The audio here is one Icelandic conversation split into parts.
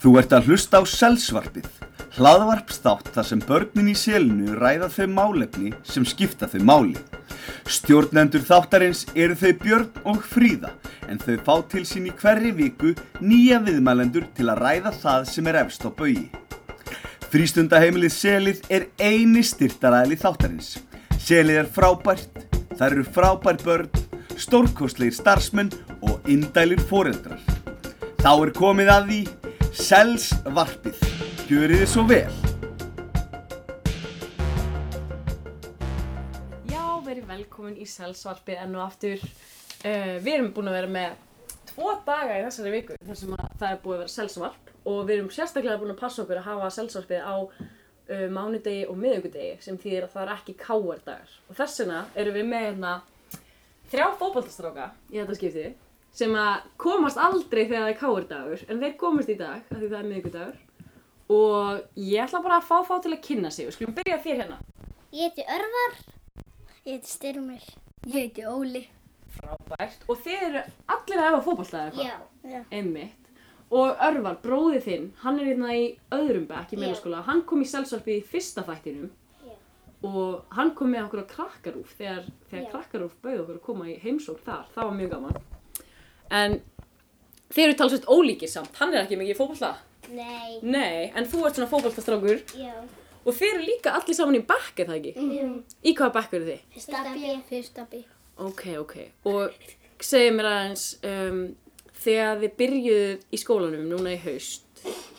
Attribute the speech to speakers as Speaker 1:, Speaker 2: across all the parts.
Speaker 1: Þú ert að hlusta á Selsvarpið, hlaðvarpstátt þar sem börnin í selinu ræða þau málefni sem skipta þau máli. Stjórnendur þáttarins eru þau Björn og Fríða, en þau fá til sín í hverri viku nýja viðmælendur til að ræða það sem er efst á bögi. Frístundaheimilið Selið er eini styrtaræðli þáttarins. Selið er frábært, það eru frábær börn, stórkostlegir starfsmenn og indælir foreldrar. Þá er komið að því Selsvarpið. Gjörið þið svo vel.
Speaker 2: Já, verið velkomin í Selsvarpið enn og aftur. Uh, við erum búin að vera með tvo daga í þessari viku þar sem að það er búið að vera Selsvarp og við erum sérstaklega búin að passa okkur að hafa Selsvarpið á uh, mánudegi og miðugudegi sem þýðir að það er ekki káardagar. Og þess vegna erum við með hérna þrjá fótballtastráka í þetta skipti sem að komast aldrei þegar það er káardagur en þeir komast í dag af því það er miðugudagur og ég ætla bara að fá fá til að kynna sig og skulum byrja þér hérna.
Speaker 3: Ég heiti Örvar. Ég heiti Styrmir. Ég heiti Óli.
Speaker 2: Frábært. Og þið eru allir að hefa fótballtað eða eitthvað?
Speaker 3: Já. Já.
Speaker 2: Einmitt. Og Örvar, bróði þinn, hann er hérna í öðrum bekk í meðlaskóla. Hann kom í selsvarpið í fyrsta þættinum.
Speaker 3: Já.
Speaker 2: Og hann kom með okkur á krakkarúf þegar, þegar
Speaker 3: Já.
Speaker 2: krakkarúf bauði okkur að koma í heimsók þar. Það var mjög gaman. En þið eru talsveit ólíkir samt. Hann er ekki mikið í fótballtað.
Speaker 3: Nei.
Speaker 2: Nei, en þú ert svona fótballtastrákur.
Speaker 3: Já.
Speaker 2: Og þið eru líka allir saman í bekk, er það ekki?
Speaker 3: Mm.
Speaker 2: Í hvaða bekk eru þið?
Speaker 3: Fyrsta bí. Fyrsta bí.
Speaker 2: Ok, ok. Og segið mér aðeins, um, þegar þið byrjuð í skólanum núna í haust,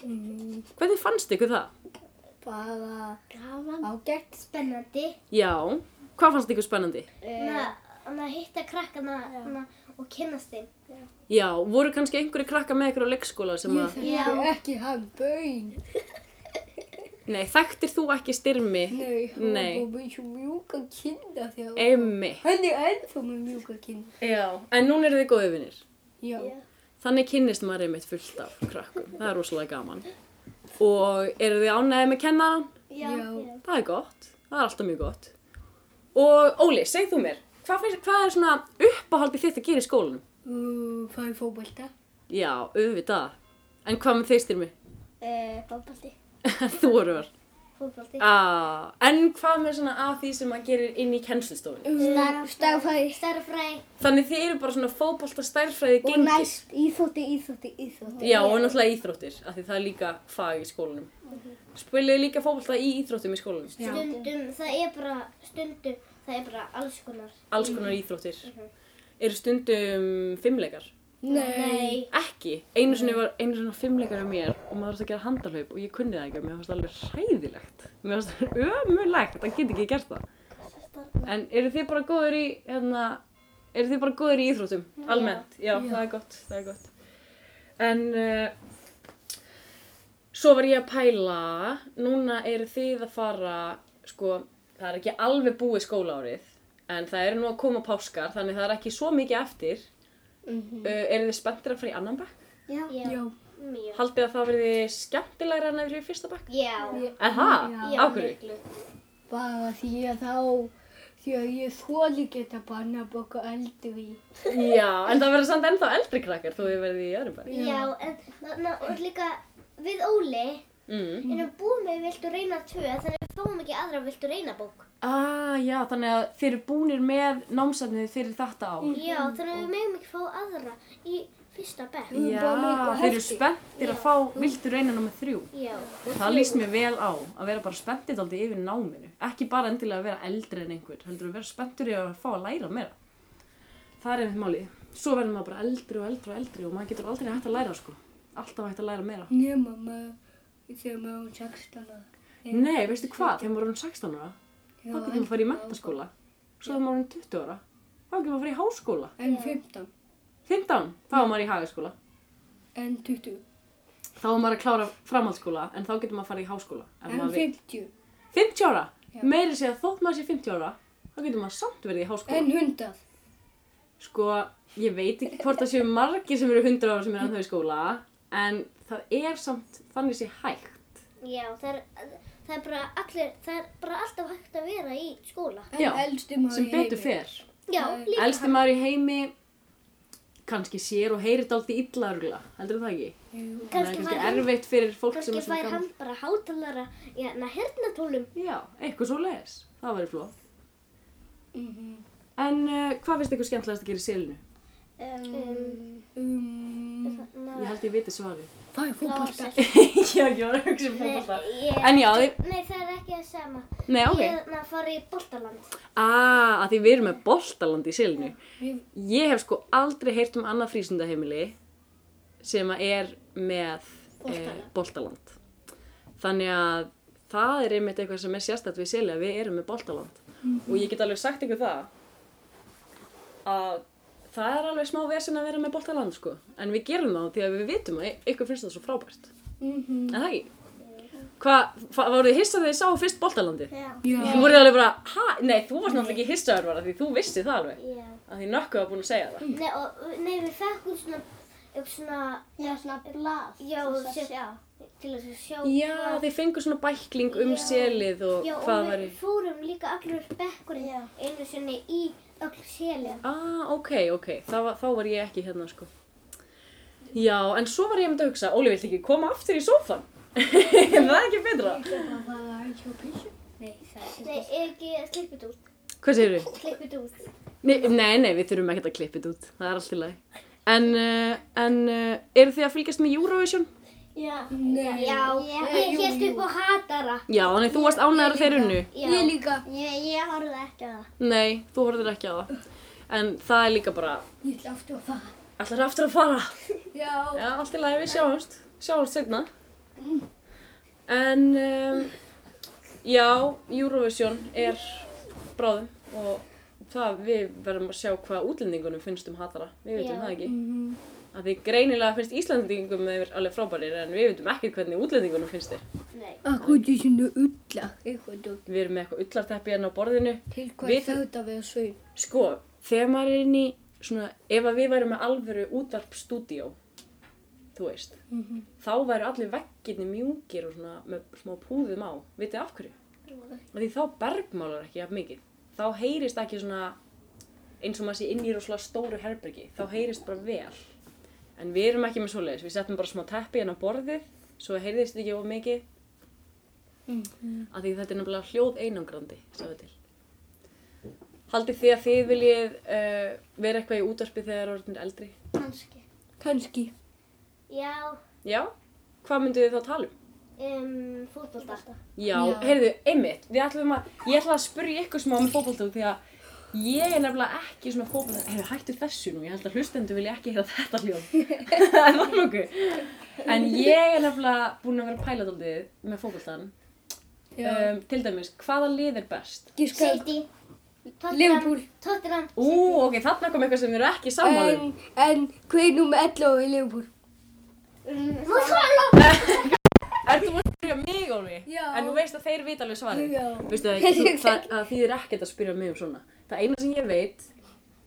Speaker 2: hvernig fannst ykkur það?
Speaker 3: Bara gaman. Ágætt. Spennandi.
Speaker 2: Já, hvað fannst ykkur spennandi?
Speaker 3: Eh. Þannig að hitta krakkana hana, og kynnast þeim.
Speaker 2: Já, voru kannski einhverju krakka með ykkur á leikskóla sem að...
Speaker 3: Já.
Speaker 4: Ekki hann bauðin.
Speaker 2: Nei, þekktir þú ekki styrmi?
Speaker 4: Nei, hann
Speaker 2: Nei.
Speaker 4: var bara eins og mjúka kinda þegar
Speaker 2: Einmitt.
Speaker 4: Hann er ennþá með mjúka kinda.
Speaker 2: Já. En núna eru þið góðið vinnir.
Speaker 4: Já.
Speaker 2: Þannig kynnist maður einmitt fullt af krakkum. Það er rosalega gaman. Og eru þið ánæðið með kennaran?
Speaker 3: Já.
Speaker 4: Já.
Speaker 2: Það er gott. Það er alltaf mjög gott. Og Óli, segð þú mér, hvað, finnst, hvað er svona uppáhaldið þitt að gera í skólanum?
Speaker 4: Uh, Það er fókbalta.
Speaker 2: Já, auðvitað. En hvað með þeir styrmi?
Speaker 3: Uh, Bábaldi.
Speaker 2: þú eru var.
Speaker 3: Fóbaldi.
Speaker 2: Ah, en hvað með svona af því sem maður gerir inn í kennslustofunni?
Speaker 3: Mm. Stærfræði. Stærfræði.
Speaker 2: Þannig þið eru bara svona fótbolta stærfræði gengi.
Speaker 4: íþótti, íþótti, íþótti.
Speaker 2: Já, og náttúrulega íþróttir, af því það er líka fag í skólanum. Spilið þið líka fótbolta í íþróttum í skólanum?
Speaker 4: Já.
Speaker 3: Stundum. Það er bara stundum. Það er bara alls konar.
Speaker 2: Alls konar íþróttir. Eru stundum fimmleikar?
Speaker 4: Nei.
Speaker 2: Ekki. Einu sinni var einu sinni var fimmleikar um mér og maður þarf að gera handarhlaup og ég kunni það ekki og mér fannst það alveg hræðilegt. Mér fannst það ömulegt, það get ekki gert það. En eru þið bara góður í, hérna, eru þið bara góður í íþróttum? Almennt, já, það er gott, það er gott. En uh, svo var ég að pæla, núna eru þið að fara, sko, það er ekki alveg búið skólaárið, en það eru nú að koma páskar, þannig það er ekki svo mikið eftir. Uh, eru þið spenntir að fara í annan bekk?
Speaker 3: Já.
Speaker 4: Já.
Speaker 3: Mjög.
Speaker 2: Haldið þið að það verði skemmtilegra en að verið í fyrsta bekk?
Speaker 3: Já.
Speaker 2: Er það?
Speaker 4: Já.
Speaker 3: Já,
Speaker 2: Af hverju?
Speaker 3: miklu.
Speaker 4: Bara því að þá, því að ég þóli geta banna boka eldri.
Speaker 2: Já, en það verður samt ennþá eldri krakkar þó þið verðið í öðrum bekk.
Speaker 3: Já, en þarna og líka við Óli
Speaker 2: Mm.
Speaker 3: erum búið með Viltu reyna 2 þannig við fáum ekki aðra Viltu reyna bók.
Speaker 2: Ah, já, þannig að þeir eru búnir með námsefnið fyrir þetta ár.
Speaker 3: Já, þannig að við megum ekki fá aðra í fyrsta bekk.
Speaker 4: Mm.
Speaker 2: Já,
Speaker 4: bara með eitthvað
Speaker 2: þeir eru
Speaker 4: hefti.
Speaker 2: spenntir að fá viltu reyna námið þrjú.
Speaker 3: Já,
Speaker 2: Það líst mér vel á að vera bara spenntir aldrei yfir náminu. Ekki bara endilega að vera eldri en einhver, heldur að vera spenntur í að fá að læra meira. Það er einmitt málið. Svo verður maður bara eldri og eldri og eldri og maður getur aldrei hægt að læra sko. Alltaf hægt að læra meira.
Speaker 4: Nema maður þegar maður er 16 ára.
Speaker 2: Nei, veistu hvað, þegar maður er orðinn 16 ára,
Speaker 4: Já,
Speaker 2: þá getur maður að fara í mentaskóla. Svo þegar maður er orðinn 20 ára, þá getur maður að fara í háskóla.
Speaker 4: En 15.
Speaker 2: 15, þá er maður í hagaskóla.
Speaker 4: En 20.
Speaker 2: Þá er maður að klára framhaldsskóla en þá getur maður að fara í háskóla. ef
Speaker 4: En
Speaker 2: maður vill.
Speaker 4: 50.
Speaker 2: 50 ára?
Speaker 4: Já.
Speaker 2: Meiri segja þótt maður sé 50 ára, þá getur maður samt verið í háskóla.
Speaker 4: En 100.
Speaker 2: Sko, ég veit ekki hvort það séu margir sem eru 100 ára sem eru ennþá í skóla, en það er samt þannig sé hægt.
Speaker 3: já, það er, það er bara allir, það er bara alltaf hægt að vera í skóla.
Speaker 4: En
Speaker 2: Já,
Speaker 4: elsti maður
Speaker 2: Sem
Speaker 4: í
Speaker 2: betur
Speaker 4: heimi.
Speaker 2: fer.
Speaker 3: Já, líka.
Speaker 2: Elsti maður í heimi kannski sér og heyrir þetta alltaf illa örgulega, heldur það ekki? Það er
Speaker 5: Kannski
Speaker 2: kannski
Speaker 5: fær,
Speaker 2: erfitt fyrir fólk sem
Speaker 5: kannski
Speaker 2: er
Speaker 5: fær
Speaker 2: svona
Speaker 5: hann
Speaker 2: gaman.
Speaker 5: bara hátalara í hérna hernatólum.
Speaker 2: Já, eitthvað svo leiðis. Það væri flott.
Speaker 4: Mm-hmm.
Speaker 2: En uh, hvað finnst ykkur skemmtilegast að gera í selinu?
Speaker 5: Um,
Speaker 4: Um,
Speaker 2: um, Ég held ég viti svarið.
Speaker 4: Það er fókbalta.
Speaker 5: Blásar.
Speaker 2: Já, ég var að hugsa um fótbolta.
Speaker 5: Ég-
Speaker 2: En já, þið...
Speaker 5: Nei, það er ekki það sama.
Speaker 2: Nei, ok.
Speaker 5: Ég hérna fór í Bóltaland.
Speaker 2: Ah, að því við erum með boltaland í selinu.
Speaker 4: Við-
Speaker 2: Ég hef sko aldrei heyrt um annað frísundaheimili sem að er með eh, boltaland. Þannig að það er einmitt eitthvað sem er sérstætt við seli að við erum með boltaland. Og ég get alveg sagt ykkur það að það er alveg smá vesen að vera með boltaland sko. En við gerum það því að við vitum að ykkur finnst það svo frábært.
Speaker 4: Mhm.
Speaker 2: En það ekki? Hvað, hva, voruð þið hissað þegar þið sáu fyrst boltalandið?
Speaker 5: Já.
Speaker 2: Þú voru alveg bara, hæ, nei, þú varst náttúrulega ekki hissaður bara því þú vissi það alveg.
Speaker 5: Já.
Speaker 2: Að því nökkuð var búin að segja það.
Speaker 5: Nei, og, nei við fekkum svona, eitthvað svona,
Speaker 3: Já, svona blað.
Speaker 5: já,
Speaker 3: til þess að
Speaker 5: sem-
Speaker 3: sjá.
Speaker 5: til þess að sjá
Speaker 2: Já,
Speaker 5: hvað-
Speaker 2: þið fengur svona bækling um
Speaker 5: Já.
Speaker 2: selið og
Speaker 5: Já, og
Speaker 2: hvað
Speaker 5: við
Speaker 2: var í.
Speaker 5: fórum líka allur bekkurinn
Speaker 3: Já.
Speaker 5: einu sinni í öll selja.
Speaker 2: Ah, ok, ok, það var, þá var ég ekki hérna sko. Já, en svo var ég um að hugsa, Óli, viltu ekki koma aftur í sófan? það er ekki betra.
Speaker 4: Það var ekki á pilsu.
Speaker 3: Nei, það er
Speaker 5: Nei, ekki klippið út,
Speaker 2: Hvað segir þið?
Speaker 5: klippið út.
Speaker 2: Nei, nei, nei, við þurfum ekkert að klippa þetta út, það er allt í lagi. En, uh, en uh, eru þið að fylgjast með Eurovision?
Speaker 5: Já.
Speaker 4: Nei.
Speaker 5: Já, ég hérst upp á hatara.
Speaker 2: Já, nei, þú varst ánægður að þeir unnu.
Speaker 5: Já.
Speaker 4: Ég líka.
Speaker 5: Ég, ég horfði ekki á það.
Speaker 2: Nei, þú horfðir ekki á það. En það er líka bara,
Speaker 4: Ég ætla aftur að fara.
Speaker 2: allar aftur að fara.
Speaker 4: Já.
Speaker 2: Já, allt í lagi, við sjáumst. Sjáumst seinna. En, um, já, Eurovision er bráðum og það, við verðum að sjá hvað útlendingunum finnst um hatara. Við veitum
Speaker 5: Já.
Speaker 2: það ekki.
Speaker 4: Mm-hmm.
Speaker 2: Að því greinilega finnst Íslandingum þeir alveg frábærir en við veitum ekki hvernig útlendingunum finnst þeir.
Speaker 5: Nei.
Speaker 4: Akkur þetta er svona ulla. Eitthvað dótt.
Speaker 2: Við erum með eitthvað ullarteppi hérna á borðinu.
Speaker 4: Til
Speaker 2: Við-
Speaker 4: hvað þátt að vera svein.
Speaker 2: Sko, þegar maður er inn í svona, ef að við værum með alvöru útvarpstúdíó, þú veist, þá væru allir vegginni mjúkir og svona með smá púðum á. Vitið af hverju? Af Því þá bergmálar ekki jafn mikið. Þá heyrist ekki svona eins og maður sé inn í rosalega stóru herbergi. Þá heyrist bara vel. En við erum ekki með svoleiðis. Við settum bara smá teppi hérna á borðið, svo heyrðist ekki of mikið. Af því þetta er nefnilega hljóð einangrandi, sagði til. Haldið þið að þið viljið uh, vera eitthvað í útvarpi þegar orðin er eldri?
Speaker 5: Kanski.
Speaker 4: Kanski.
Speaker 5: Já,
Speaker 2: Já? Hvað mynduð þið þá tala um?
Speaker 5: um, fútbolta.
Speaker 2: Já,
Speaker 4: Já.
Speaker 2: heyrðu, einmitt, við ætlum að, ég ætla að spyrja ykkur smá með fótbolta út því að ég er nefnilega ekki svona fótbolta, heyrðu, hættu þessu nú, ég held að hlustendur vilja ekki heyra þetta hljóð. Það er það nokkuð. En ég er nefnilega búin að vera að pæla daldið með fótboltan.
Speaker 4: Já.
Speaker 2: Um, til dæmis, hvaða lið er best?
Speaker 4: Gíska.
Speaker 5: City. Tottenham.
Speaker 4: Liverpool.
Speaker 5: Tottenham.
Speaker 2: Ú, ok, þarna kom eitthvað sem við erum ekki sammála um.
Speaker 4: En, en hver er nummer 11 í Liverpool?
Speaker 5: Mússala.
Speaker 2: Er þú að spyrja mig og mig?
Speaker 4: Já.
Speaker 2: En þú veist að þeir vita alveg svarið.
Speaker 4: Já.
Speaker 2: Veistu að þú, það, það þýðir ekkert að spyrja mig um svona. Það eina sem ég veit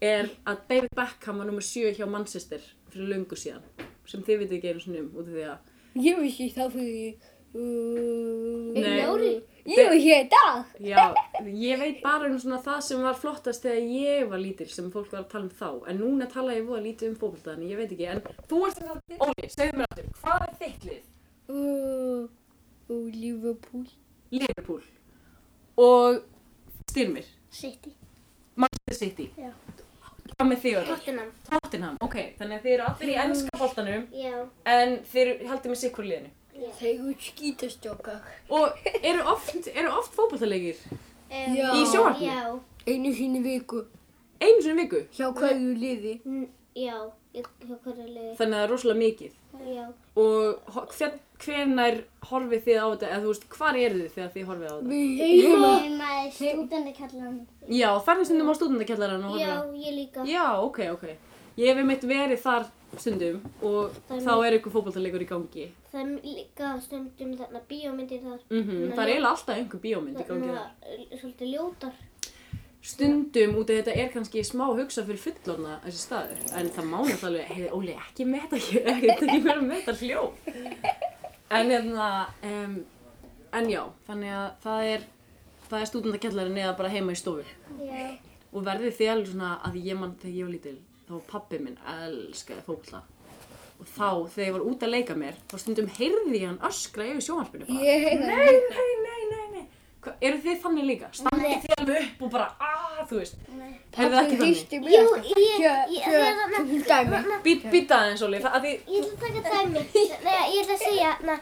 Speaker 2: er að David Beckham var nummer 7 hjá Manchester fyrir löngu síðan. Sem þið vitið ekki einu svona um út af því að...
Speaker 4: Ég vissi það fyrir... Uh,
Speaker 2: Nei. Nóri?
Speaker 4: Ég vissi það í dag.
Speaker 2: Já, ég veit bara um svona það sem var flottast þegar ég var lítil sem fólk var að tala um þá. En núna tala ég voða lítið um fókbalta, en ég veit ekki. En þú ert þess að... Óli, segðu mér aftur, hvað er þitt lið?
Speaker 4: Uh, uh, Liverpool.
Speaker 2: Liverpool. Og styrmir.
Speaker 5: City.
Speaker 2: Manchester City.
Speaker 5: Já.
Speaker 2: Hvað með þig, Óli?
Speaker 5: Tottenham.
Speaker 2: Tottenham, ok, þannig að þið eru allir í ennska boltanum
Speaker 5: Já.
Speaker 2: en þið eru haldið með sikkur liðinu
Speaker 4: Þeir eru skítastjókar.
Speaker 2: og eru oft, eru oft fótballtalegir
Speaker 5: Um,
Speaker 4: Já.
Speaker 2: Í sjónvarpinu?
Speaker 5: Já.
Speaker 4: Einu sinni í viku.
Speaker 2: einu sinni í viku
Speaker 4: Hjá hverju liði.
Speaker 5: N- Já. Ég, hjá hverju liði.
Speaker 2: þannig að það er rosalega mikið
Speaker 5: Já.
Speaker 2: og ho- hver, hvenær horfið þið á þetta eða þú veist, hvar eru þið þegar þið horfið á þetta?
Speaker 4: Við
Speaker 5: Heima.
Speaker 4: heima.
Speaker 5: Heima í stúdendakjallan.
Speaker 2: Já, farið stundum á stúdendakjallarann og horfið
Speaker 5: Já,
Speaker 2: á
Speaker 5: ég líka.
Speaker 2: Já, ok, ok Ég hef einmitt verið þar stundum og
Speaker 5: Það er
Speaker 2: þá
Speaker 5: mjög-
Speaker 2: er ykkur fótballtalegur í gangi
Speaker 5: Það er líka stundum þarna bíómyndir þar.
Speaker 2: mm
Speaker 5: Nei.
Speaker 2: Það er eiginlega alltaf einhver bíómynd í gangi
Speaker 5: Þarna
Speaker 2: þar
Speaker 5: eh, svolítið ljótar.
Speaker 2: stundum út af þetta er kannski smá hugsa fyrir fullorna þessi staður en það má náttúrulega, heiði Óli ekki meta ekki, ekkert ekki verið að meta hljó en hérna um, en já, þannig að það er það er stúdendakellarinn eða bara heima í stofu
Speaker 5: Já.
Speaker 2: og verðið þið alveg svona að ég mann þegar ég var lítil þá pappi minn elskaði fókbalta og þá þegar ég var út að leika mér þá stundum heyrði ég hann öskra yfir sjónvarpinu bara
Speaker 4: Ég heyra
Speaker 2: nei, nei, nei, nei, nei Hva, eru þið þannig líka? Standið þið alveg upp og bara aaa, þú veist Heyrðu það ekki þannig?
Speaker 4: hýsti
Speaker 5: Jú,
Speaker 4: mér alltaf.
Speaker 5: ég-
Speaker 4: Hjö,
Speaker 5: ég-
Speaker 4: hjö,
Speaker 5: hérna-
Speaker 4: til dæmi.
Speaker 2: Být- Býta aðeins, Óli, það að því
Speaker 5: Ég ætla að taka dæmi. Nei, ég ætla að segja na,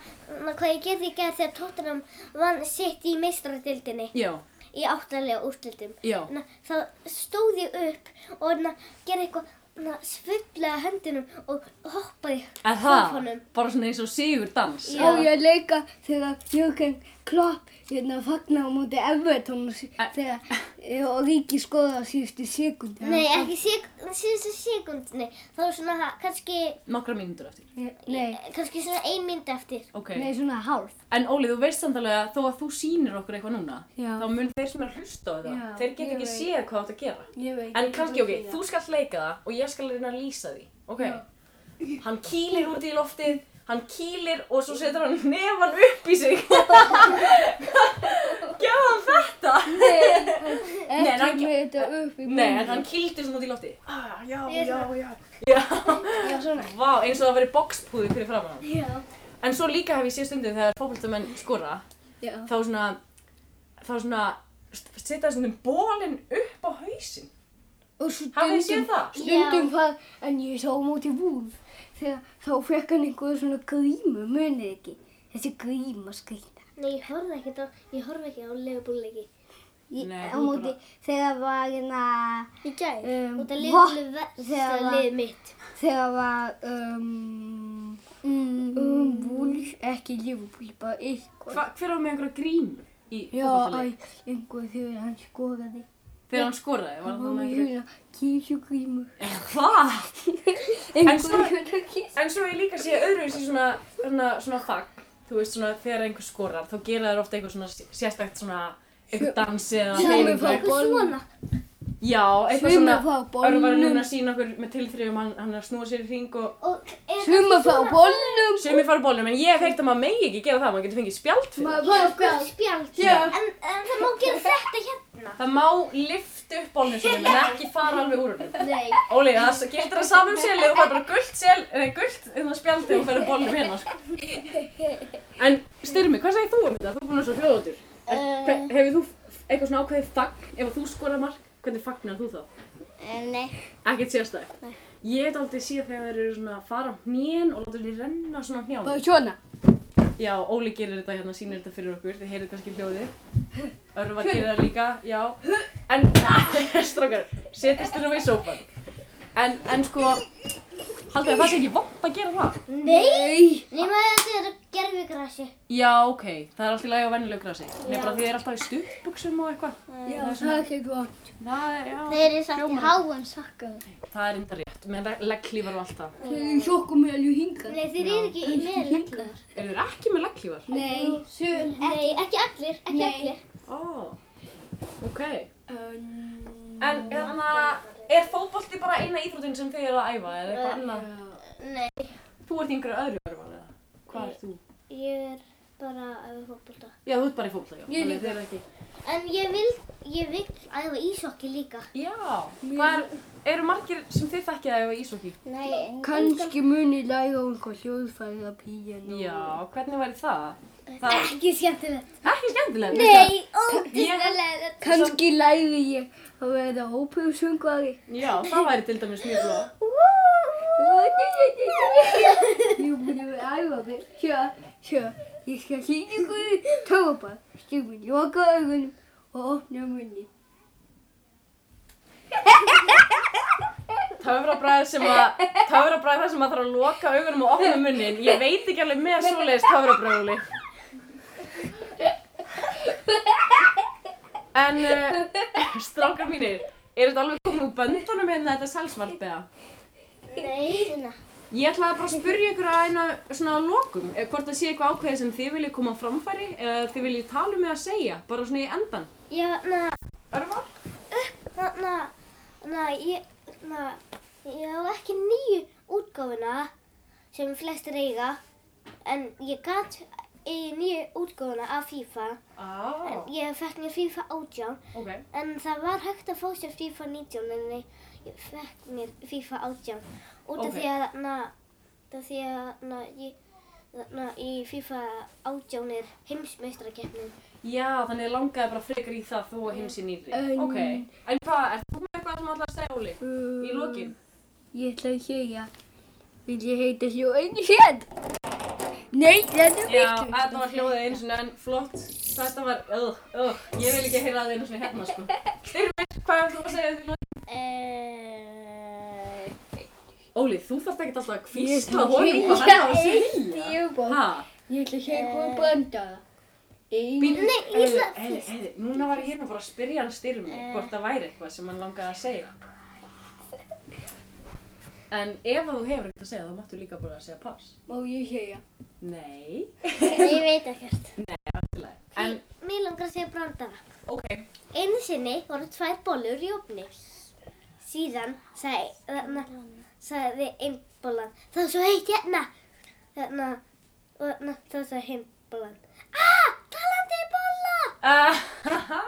Speaker 5: na, hvað ég gerði í gerð þegar Tottenham vann sitt í meistaradildinni
Speaker 2: Já,
Speaker 5: í áttalega úrslitum.
Speaker 2: já,
Speaker 5: Na, þá stóð ég upp og na, gerði eitthvað na, svullega höndunum og hoppaði
Speaker 2: að það, bara svona eins og sigur dans
Speaker 5: Já.
Speaker 4: Á ég að leika þegar Jürgen Klopp hérna fagnar á móti Everton og sí-
Speaker 2: Ä-
Speaker 4: þegar eh, og Ríki skoða á síðustu sekundi.
Speaker 5: Nei, ekki sek síðustu sekundinni. Þá er svona ha- kannski,
Speaker 2: Nokkra mínútur eftir
Speaker 4: Nei,
Speaker 5: kannski svona ein mynd eftir.
Speaker 2: Ok,
Speaker 4: nei, svona hálf.
Speaker 2: en Óli, þú veist samt alveg að þó að þú sýnir okkur eitthvað núna
Speaker 4: Já.
Speaker 2: þá mun þeir sem er að hlusta á þetta
Speaker 4: Já,
Speaker 2: þeir get
Speaker 4: ég
Speaker 2: ekki
Speaker 4: veit.
Speaker 2: séð hvað þú átt að gera
Speaker 4: Ég veit.
Speaker 2: En kannski, ok, þú skalt leika það og ég skal reyna að lýsa því, ok? Hann kýlir út í loftið, hann kýlir og svo setur hann nefan upp í sig. Gjá hann þetta? Nei, en hann-
Speaker 4: Ekki með þetta upp í
Speaker 2: Nei, en hann kýldi svona út í loftið. Ah, já,
Speaker 5: Ég
Speaker 2: já,
Speaker 5: svona-
Speaker 2: já.
Speaker 4: Já, svona.
Speaker 2: Vá, eins og það verið bokspúði fyrir framann.
Speaker 5: Já.
Speaker 2: En svo líka hef ég séð stundum þegar fókbaltamenn skora,
Speaker 4: Já.
Speaker 2: þá svona, þá svona, st- setja svona bólinn upp á hausinn.
Speaker 4: Og svo
Speaker 2: Hafið þið
Speaker 4: stundum-
Speaker 2: séð það?
Speaker 4: Stundum það, en ég sá um á móti vúf. Þegar þá fekk hann einhverju svona grímu, munið ekki. Þessi gríma skrýta.
Speaker 5: Nei, ég horfði ekki á, ég horfði ekki á legubúlleiki.
Speaker 4: Ég-
Speaker 2: Nei,
Speaker 4: Á
Speaker 2: þú
Speaker 4: móti þegar var hérna...
Speaker 5: Í gæð.
Speaker 4: Um,
Speaker 5: Út af
Speaker 4: vopn
Speaker 5: liðinu versta
Speaker 4: þegar var-
Speaker 5: lið mitt.
Speaker 4: þegar var um, um Wolf, ekki Liverpool, bara eitthvað.
Speaker 2: Hva, hver var með einhverja grímu í
Speaker 4: Já,
Speaker 2: fókbaltaleik?
Speaker 4: æ, einhver þegar hann skoraði.
Speaker 2: Þegar hann skoraði, var
Speaker 4: Hann
Speaker 2: hann með
Speaker 4: var með
Speaker 2: einhverju...
Speaker 4: hérna kísugrímur.
Speaker 2: Hvað?
Speaker 4: Einhver
Speaker 2: svo-
Speaker 4: hérna kísugrímur.
Speaker 2: En svo ég líka sé öðruvísi svona, svona, svona þagg, þú veist svona þegar einhver skorar, þá gera þær ofta einhver svona s- sérstakt svona, einhver dansi eða
Speaker 4: Sumir
Speaker 2: hreyfingu.
Speaker 4: fá bolnum.
Speaker 2: Já, eitthvað
Speaker 4: Sumir
Speaker 2: svona,
Speaker 4: fá
Speaker 2: örvar hann
Speaker 4: bolnum.
Speaker 2: að sína okkur með tilþrifum, hann, hann er að snúa sér í hring og
Speaker 5: Og er
Speaker 4: Sumir fá bolnum.
Speaker 2: sumir fara bólum, en ég hef heyrt að maður megi ekki gera það, maður getur fengið spjald fyrir það.
Speaker 4: Maður
Speaker 5: Já,
Speaker 4: bara
Speaker 5: gult spjald.
Speaker 2: Já.
Speaker 5: En, en það má gera þetta hérna.
Speaker 2: Það má lifta upp bólnum sínum en ekki fara alveg úr hann.
Speaker 5: Nei.
Speaker 2: Óli, það gildir að samum selið og fær bara gullt sel, eða gullt hérna spjaldi og ferur bólnum hérna, sko. En Styrmi, hvað segir þú um þetta? Þú er búin að svo hljóðatur.
Speaker 3: Uh,
Speaker 2: Hve- Hefur þú f- eitthvað svona ákveðið þagn, ef að þú skorar mark, hvernig fagnar þú þá?
Speaker 3: Eh, nei.
Speaker 2: Ekkert sérstætt. Ég hef aldrei séð þegar þeir eru svona að fara á hnén og láta þeir renna svona á
Speaker 4: Bara
Speaker 2: hnjáni.
Speaker 4: svona.
Speaker 2: Já, Óli gerir þetta hérna, sýnir þetta fyrir okkur, þið heyrið kannski hljóðið. Örfa gerir það líka, já. En, strákar, setjast þér nú í sófan. En, en sko, haldið að það sé ekki vant að gera það?
Speaker 4: Nei.
Speaker 5: Nýma þetta er gerfugrassi.
Speaker 2: Já, ok, það er alltaf í lagi á venjulegu grasi. Nei, bara þið er alltaf í stuttbuxum og eitthvað.
Speaker 4: Já, það er ekki gott.
Speaker 2: Það er, já.
Speaker 3: Þeir eru satt í
Speaker 2: hljómar-
Speaker 3: háan sakkaðu.
Speaker 2: Það er enda rétt, með legglífar og allt það.
Speaker 4: Þeir eru sjokkum með alveg hingað.
Speaker 5: Nei, þeir eru ekki í meðleggar.
Speaker 2: Eru þeir ekki með legglífar?
Speaker 4: Nei. Sum.
Speaker 5: Nei, ekki allir, ekki
Speaker 4: Nei.
Speaker 5: allir.
Speaker 2: Ó, ok.
Speaker 5: Um,
Speaker 2: En hérna, er fótbolti bara eina íþrótin sem þið eru að æfa eða eitthvað annað?
Speaker 5: Nei.
Speaker 2: Þú ert í einhverju öðru örfan eða? Hvað ert þú?
Speaker 5: Ég er bara að við fókbólta.
Speaker 2: Já, þú ert bara í fótbolta, já.
Speaker 4: Ég
Speaker 2: Þannig
Speaker 4: líka.
Speaker 2: þið eru ekki.
Speaker 5: En ég vil, ég vil æfa ísokki líka.
Speaker 2: Já, hvað er, eru margir sem þið þekkið að æfa ísokki?
Speaker 5: Nei,
Speaker 4: Kanski muni læra um hvað hljóðfæri að píjana.
Speaker 2: Já, hvernig væri það? Það er
Speaker 5: ekki skemmtilegt.
Speaker 2: ekki skemmtilegt.
Speaker 5: Nei,
Speaker 2: Ég-
Speaker 5: ódýrlega.
Speaker 4: Kanski læri ég að verða óperusöngvari.
Speaker 2: Já, það væri til dæmis mjög flott.
Speaker 4: Ég mun að vera æfa mig. Sjá, sjá, ég skal sína ykkur tópa. Stjúmin, loka augunum og opna munni.
Speaker 2: Töfrabræð sem að, töfrabræð þar sem að þarf að loka augunum og opna munnin. Ég veit ekki alveg með svoleiðis töfrabræðuli. En, uh, strákar mínir, er þetta alveg komin úr böndunum hérna þetta selsvarp eða?
Speaker 5: Nei.
Speaker 2: Ég ætlaði bara að spyrja ykkur að eina svona að lokum, eh, hvort það sé eitthvað ákveðið sem þið viljið koma á framfæri eða þið viljið tala um eða segja, bara svona í endan.
Speaker 5: Ég, na,
Speaker 2: Örvar?
Speaker 5: na, na, na, ég, na, ég á ekki nýju útgáfuna sem flestir eiga. En ég gat í nýju útgáfuna af FIFA.
Speaker 2: Á,
Speaker 5: En ég fekk mér FIFA 18.
Speaker 2: ok.
Speaker 5: En það var hægt að fá sér FIFA 19 en ég fekk mér FIFA 18 út af
Speaker 2: Ókei.
Speaker 5: því að þarna út af því að þarna ég þarna í FIFA 18 er heimsmeistrakeppnin
Speaker 2: Já, þannig þið langaði bara frekar í það þó að hins í nýri.
Speaker 4: En-
Speaker 2: Ok, en hvað, er þú með eitthvað sem allar að segja, Óli? Í
Speaker 5: Mm,
Speaker 2: lokin?
Speaker 4: Ég ætla að segja, vil ég heita hljó einu sér? Nei, þetta er
Speaker 2: Já, þetta var hljóðið einu sinni, en flott, þetta var, öð, öð, ég vil ekki heyra það einu sinni hérna, sko. Styrmir, hvað er þú að segja því?
Speaker 5: Eh,
Speaker 2: Óli, þú þarft ekkert alltaf að
Speaker 4: Ég ætla
Speaker 2: kvísla
Speaker 4: að
Speaker 2: honum
Speaker 4: segja
Speaker 2: hvað hann á að segja.
Speaker 4: Þjóðbók.
Speaker 2: Hæ?
Speaker 4: Ég ætla að segja hvað að branda það. Einu.
Speaker 5: Nei, ég ætla- Eh.
Speaker 2: Heiði, heiði, núna var ég hérna bara að spyrja hann styrmi hvort það væri eitthvað sem hann langaði að segja. En ef þú hefur ekkert að segja, þá máttu líka bara að segja pass.
Speaker 4: Má ég segja?
Speaker 2: Nei.
Speaker 5: ég veit ekkert
Speaker 2: En,
Speaker 5: Mér langar að segja brandara
Speaker 2: ok,
Speaker 5: Einu sinni voru tvær bollur í opni. Síðan sagði, þarna, sagði einn bollan, það er svo heitt hérna. Þarna, og þarna, það er svo heitt bollan. Ah, talandi bolla!
Speaker 2: Ahaha.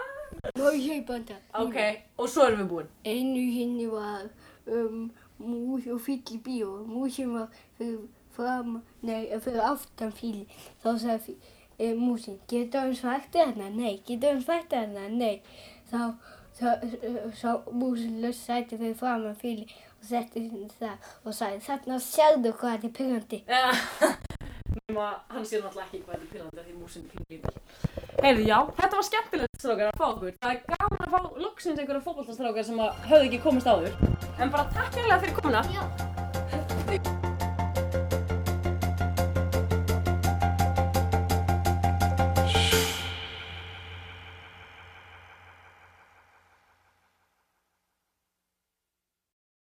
Speaker 4: Má ég segja branda?
Speaker 2: ok, og svo erum við búin.
Speaker 4: Einu henni var um, mús og fyll í bíó. Músin var fyrir, fram, nei, fyrir aftan fíli. Þá sagði fí, e, músin, getur hann svætti hérna? Nei, getur hann svætti hérna? Nei. Þá, þá, þá músin löst sæti fyrir framan fíli og setti henni það og sagði, þarna sérðu hvað þetta er pyrrandi.
Speaker 2: Nefnum að hann sé náttúrulega ekki hvað þetta er pyrrandi því músin er pyrrandi. Heyrðu, já, þetta var skemmtilegt strákar að fá okkur. Það er gaman að fá loksins einhverja fótboltastrákar sem að höfðu ekki komist áður. En bara takk hérlega fyrir komuna.
Speaker 5: Já.